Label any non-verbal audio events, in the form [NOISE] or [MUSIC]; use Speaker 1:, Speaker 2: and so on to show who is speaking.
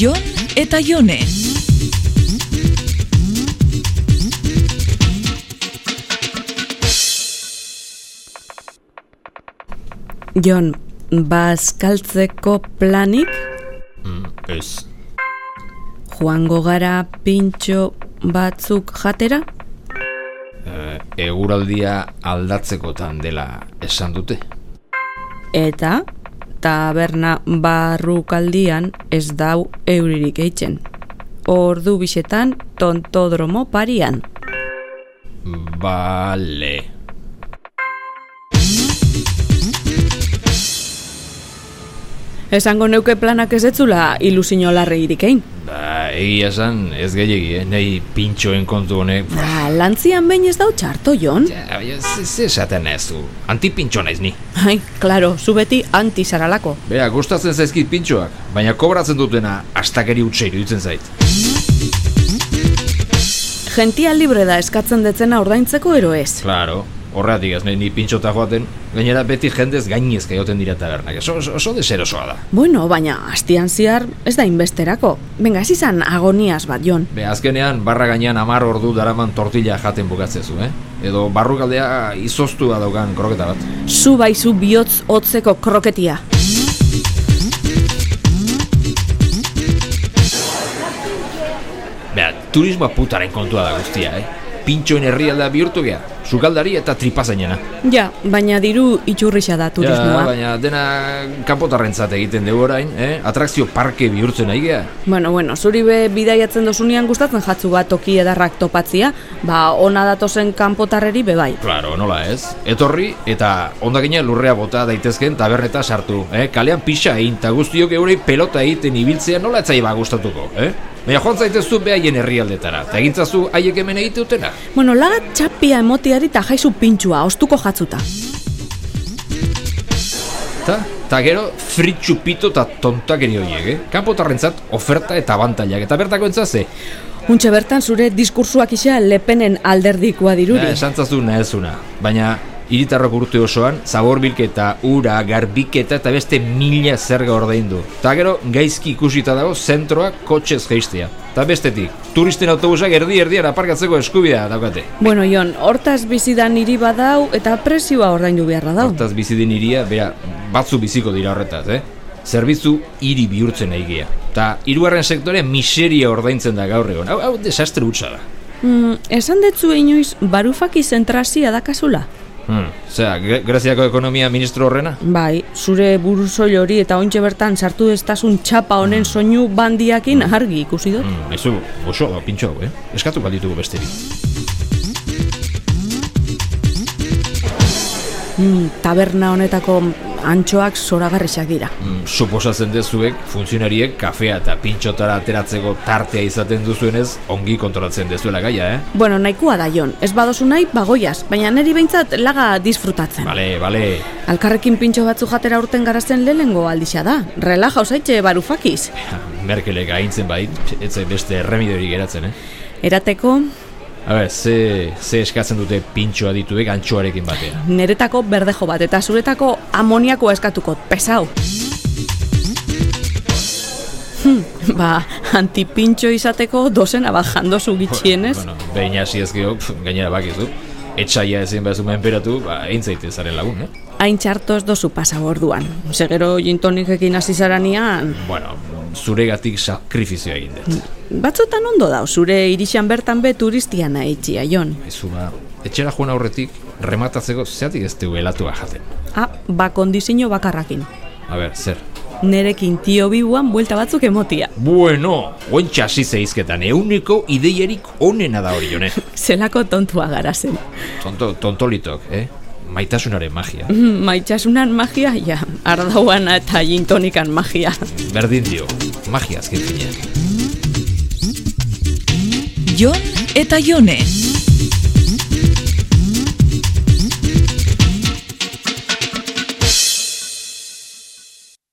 Speaker 1: Jon eta Jone.
Speaker 2: Jon, bazkaltzeko planik,
Speaker 3: Ez,
Speaker 2: joango gara pintxo batzuk jatera?
Speaker 3: eguraldia aldatzekotan dela esan dute.
Speaker 2: Eta taberna barrukaldian ez dau euririk eitzen. Ordu bisetan tontodromo parian.
Speaker 3: Bale.
Speaker 2: Esango neuke planak ez etzula ilusino larreirik egin.
Speaker 3: Ba, egia esan, ez gehiegi, eh? nahi pintxoen kontu honek.
Speaker 2: Ba, lantzian behin ez dau txarto, Jon.
Speaker 3: Ja, baina ze- ze esaten ez du, antipintxo naiz ni.
Speaker 2: Ai, klaro, zu beti antizaralako.
Speaker 3: Bea, gustatzen zaizkit pintxoak, baina kobratzen dutena astakeri utxe iruditzen zait.
Speaker 2: Gentia libre da eskatzen detzena ordaintzeko ero ez.
Speaker 3: Claro, horretik ez nahi ni pintxota joaten, gainera beti jendez gainezka joten dira tabernak, oso, oso, oso deserosoa da.
Speaker 2: Bueno, baina astian zihar ez da inbesterako. Benga, ez izan agoniaz bat, Jon.
Speaker 3: Be, azkenean barra gainean hamar ordu daraman tortilla jaten bukatzezu, eh? Edo barrukaldea izoztua daukan kroketa bat.
Speaker 2: Zu baizu bihotz hotzeko kroketia.
Speaker 3: Bea, turismoa putaren kontua da guztia, eh? Pintxoen herrialdea bihurtu gea, sukaldari eta tripazainena.
Speaker 2: Ja, baina diru itxurrixa da turismoa.
Speaker 3: Ja, baina dena kanpotarrentzat egiten dugu orain, eh? Atrakzio parke bihurtzen nahi gea.
Speaker 2: Bueno, bueno, zuri be bidaiatzen dozunean gustatzen jatzu bat toki edarrak topatzia, ba ona datozen kanpotarreri be bai.
Speaker 3: Claro, nola ez? Etorri eta ondakina lurrea bota daitezken taberneta sartu, eh? Kalean pixa egin eta guztiok eurei pelota egiten ibiltzea nola etzai ba gustatuko, eh? Baina joan zaiteztu behaien herrialdetara, eta egintzazu haiek hemen egite dutena.
Speaker 2: Bueno, laga txapia emotiari eta jaizu pintxua, ostuko jatzuta.
Speaker 3: Ta, ta gero fritxupito eta tontakeri horiek, eh? Kanpotarrentzat oferta eta abantailak, eta bertako entzaze,
Speaker 2: Untxe bertan zure diskursuak isa lepenen alderdikoa diruri.
Speaker 3: Ja, Eh, esan zazu nahezuna, baina hiritarrok urte osoan zabor bilketa, ura, garbiketa eta beste mila zerga ordaindu. Ta gero gaizki ikusita dago zentroa kotxez geistea. Ta bestetik, turisten autobusak erdi erdian aparkatzeko eskubidea daukate.
Speaker 2: Bueno, Jon, hortaz bizidan hiri badau eta presioa ordaindu beharra dau.
Speaker 3: Hortaz bizi den hiria, bera, batzu biziko dira horretaz, eh? Zerbitzu hiri bihurtzen egia. Ta hirugarren sektore miseria ordaintzen da gaur egon. Hau, hau desastre hutsa da.
Speaker 2: Mm, esan detzu inoiz barufaki zentrazia dakazula.
Speaker 3: Hmm. Osea, Gre- Greziako ekonomia ministro horrena?
Speaker 2: Bai, zure buruzoi hori eta ontxe bertan sartu destasun txapa honen soinu bandiakin argi ikusi dut.
Speaker 3: Mm, Aizu, oso da pintxo hau, eh? Eskatu balditugu besterik.
Speaker 2: Mm, taberna honetako antxoak zoragarrisak dira.
Speaker 3: Mm, suposatzen dezuek funtzionariek kafea eta pintxotara ateratzeko tartea izaten duzuenez ongi kontrolatzen dezuela gaia, eh?
Speaker 2: Bueno, nahikoa da jon, ez badozu nahi bagoiaz, baina neri behintzat laga disfrutatzen.
Speaker 3: Bale, [LAUGHS] bale,
Speaker 2: Alkarrekin pintxo batzu jatera urten garazen lehenengo aldixa da. Relaja osaitxe barufakiz.
Speaker 3: Merkelek agintzen bait, etzai beste remidori geratzen, eh?
Speaker 2: Erateko,
Speaker 3: A ber, ze, ze eskatzen dute pintxoa dituek antxoarekin batera.
Speaker 2: niretako berdejo bat eta zuretako amoniakoa eskatuko, pesau. Hmm, ba, antipintxo izateko dozena bajando zu gitxienez.
Speaker 3: Bueno, behin hasi ez gero, pf, gainera bakizu, etxaia ezin behar menperatu, ba, egin zaitez zaren lagun, eh?
Speaker 2: Hain txartoz dozu pasau orduan. Segero jintonikekin hasi zaranean,
Speaker 3: Bueno, zuregatik sakrifizioa egin dut.
Speaker 2: batzutan ondo dau, zure irixan bertan be turistiana itxia, Jon.
Speaker 3: Aizu ba, etxera joan aurretik rematatzeko zeatik ez dugu elatua jaten.
Speaker 2: Ah, ba kondizio bakarrakin.
Speaker 3: A ber, zer?
Speaker 2: Nerekin tio biuan buelta batzuk emotia.
Speaker 3: Bueno, oentxe hasi zeizketan, euniko ideierik onena da hori jone.
Speaker 2: Zelako tontua gara zen.
Speaker 3: Tonto, tontolitok, eh? Maitasunaren magia.
Speaker 2: Mm, Maitxasunan magia, ja, ardauan eta jintonikan magia.
Speaker 3: Berdin dio, magia azken finean.
Speaker 1: Jon eta Jone.